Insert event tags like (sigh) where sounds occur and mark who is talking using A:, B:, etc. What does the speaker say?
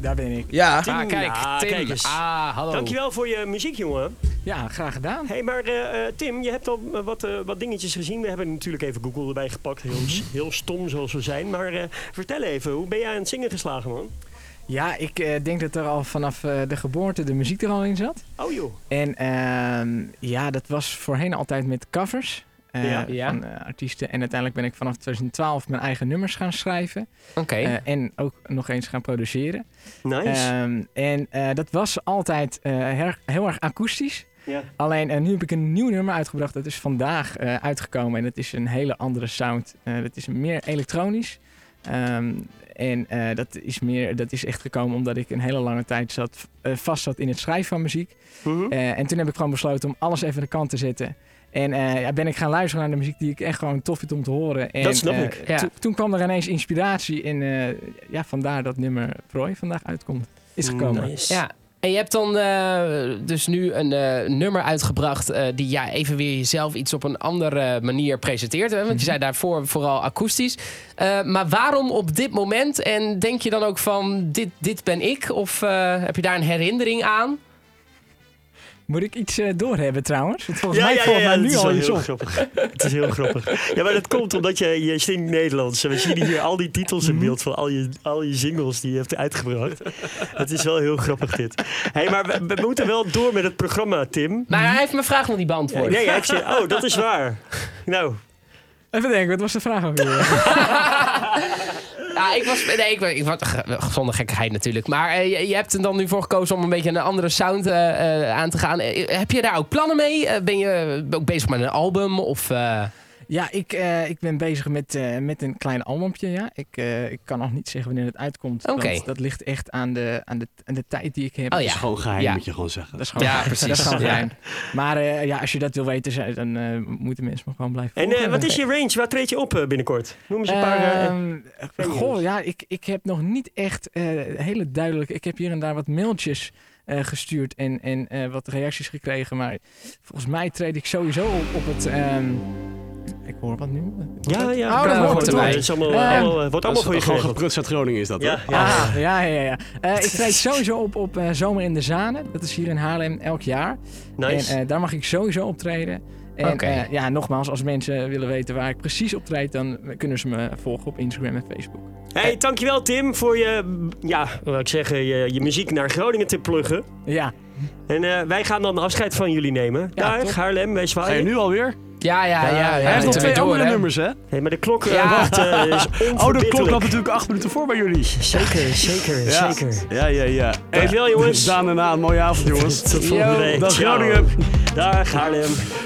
A: Daar ben ik.
B: Ja.
A: Tim.
C: Ah, kijk,
A: Ah,
C: Tim.
A: kijk eens.
C: Ah, hallo.
D: Dankjewel voor je muziek, jongen.
A: Ja, graag gedaan.
D: Hé, hey, maar eh, eh, Tim, je hebt al eh, wat, eh, wat dingetjes gezien. We hebben natuurlijk even Google erbij gepakt. Heel,
C: Mhm.
D: s- heel stom zoals we zijn. Maar eh, vertel even, hoe ben jij aan het zingen geslagen, man?
A: Ja, ik eh, denk dat er al vanaf eh, de geboorte de muziek er al in zat.
D: Oh joh.
A: En ehm, ja, dat was voorheen altijd met covers eh,
D: Ja.
C: Ja.
A: van eh, artiesten. En uiteindelijk ben ik vanaf 2012 mijn eigen nummers gaan schrijven.
C: Oké.
A: eh, en ook nog eens gaan produceren.
D: Nice.
A: Ehm, en eh, dat was altijd eh, her- heel erg akoestisch.
D: ja.
A: Alleen eh, nu heb ik een nieuw nummer uitgebracht. Dat is vandaag eh, uitgekomen. En dat is een hele andere sound. Eh, dat is meer elektronisch. Ehm, en eh, dat, is meer, dat is echt gekomen omdat ik een hele lange tijd zat, eh, vast zat in het schrijven van muziek.
D: Mhm.
A: Eh, en toen heb ik gewoon besloten om alles even aan de kant te zetten. En eh, ja, ben ik gaan luisteren naar de muziek die ik echt gewoon tof vind om te horen. En,
D: Dat snap
A: eh,
D: ik.
A: to-
C: Ja.
A: toen kwam er ineens inspiratie. En eh, ja, vandaar dat nummer Prooi vandaag uitkomt. Is
D: Mm,
A: gekomen.
D: Nice.
C: Ja. En je hebt dan eh, dus nu een eh, nummer uitgebracht eh, die ja, even weer jezelf iets op een andere manier presenteert. Hè? Want je zei daarvoor vooral akoestisch. Eh, maar waarom op dit moment? En denk je dan ook van dit, dit ben ik? Of eh, heb je daar een herinnering aan?
A: Moet ik iets eh, doorhebben trouwens? Want volgens
D: Ja,
A: mij
D: ja, ja,
A: valt
D: ja,
A: mij
D: het
A: nu
D: is wel
A: al iets
D: heel
A: op.
D: grappig. Het is heel grappig. Ja, maar dat komt omdat je, je is niet Nederlands. We zien hier al die titels
C: Mhm.
D: in beeld van al je, al je singles die je hebt uitgebracht. Het is wel heel grappig dit. hey, maar we, we moeten wel door met het programma, Tim.
C: Maar hij heeft mijn vraag nog niet
D: Ja,
C: beantwoord.
D: nee, ik zeg, oh, dat is
E: (laughs)
D: waar. Nou,
A: Even denken, wat was de vraag ook weer?
C: Ja, Ah, ik was, nee, ik, was- ik was g- zonder gekheid natuurlijk. Maar eh, je, je hebt er dan nu voor gekozen om een beetje een andere sound eh, eh, aan te gaan. Eh, heb je daar ook plannen mee? Eh, ben je ook bezig met een album? Of, eh,
A: (laughs) Ja, ik, eh, ik ben bezig met, eh, met een klein albumpje, ja. Ik, eh, ik kan nog niet zeggen wanneer het uitkomt.
C: Oké.
A: want dat ligt echt aan de, aan, de, aan de tijd die ik heb.
C: oh
A: Dus
C: ja.
E: Gewoon geheim
C: Ja.
E: moet je gewoon zeggen.
A: Dat is gewoon,
C: Ja,
A: ja, (laughs)
C: precies.
A: Dat is gewoon
C: Ja.
A: geheim. Maar eh, ja, als je dat wil weten, zijn- dan eh, moeten mensen me gewoon blijven
D: en eh,
A: volgen.
D: wat is je range? Waar treed je op eh, binnenkort? Noem eens een paar. eh,
A: Ehm, goh, ja, ik, ik heb nog niet echt eh, hele duidelijk... Ik heb hier en daar wat mailtjes eh, gestuurd en, en eh, wat reacties gekregen. Maar volgens mij treed ik sowieso op, op het... ehm, ik hoor wat nu.
D: ja, ja,
A: Oh, dat
D: ja,
A: hoort
D: wordt
C: erbij.
D: Het is allemaal,
A: Ehm,
D: allemaal, eh, wordt allemaal voor je
E: gewoon
D: geregeld.
E: geprutst uit Groningen is dat,
D: Ja,
E: hoor.
D: ja.
A: Ah, ja, ja, ja. Eh, ik treed sowieso op op eh, Zomer in de Zanen. Dat is hier in Haarlem elk jaar.
D: nice.
A: En eh, daar mag ik sowieso optreden. En
C: Oké.
A: eh, ja, nogmaals, als mensen willen weten waar ik precies optreed, dan kunnen ze me volgen op Instagram en Facebook.
D: hey, dankjewel Tim voor je, ja, wat ik zeggen, je, je muziek naar Groningen te pluggen.
A: Ja,
D: En eh, wij gaan dan afscheid van jullie nemen.
A: Ja,
D: Daar,
A: top.
D: Haarlem, wij
E: Ga je
D: zwaaien.
E: nu alweer?
C: Ja, ja, ja. ja,
E: Hij heeft nog
C: Toen
E: twee
C: weer door,
E: andere
C: hè.
E: nummers, hè?
D: Hey, maar de klok eh,
C: Ja.
D: wacht, eh, is
E: Oh, de klok
D: onverbiddelijk.
E: loopt natuurlijk acht minuten voor bij jullie.
D: Zeker, zeker,
E: Ja.
D: zeker.
E: Ja, ja, ja. (laughs)
D: Dankjewel, jongens.
E: Daan en na, een mooie avond, jongens.
D: Tot volgende
C: Yo.
D: week.
E: Dag
D: Ciao.
E: Groningen.
D: Dag Haarlem.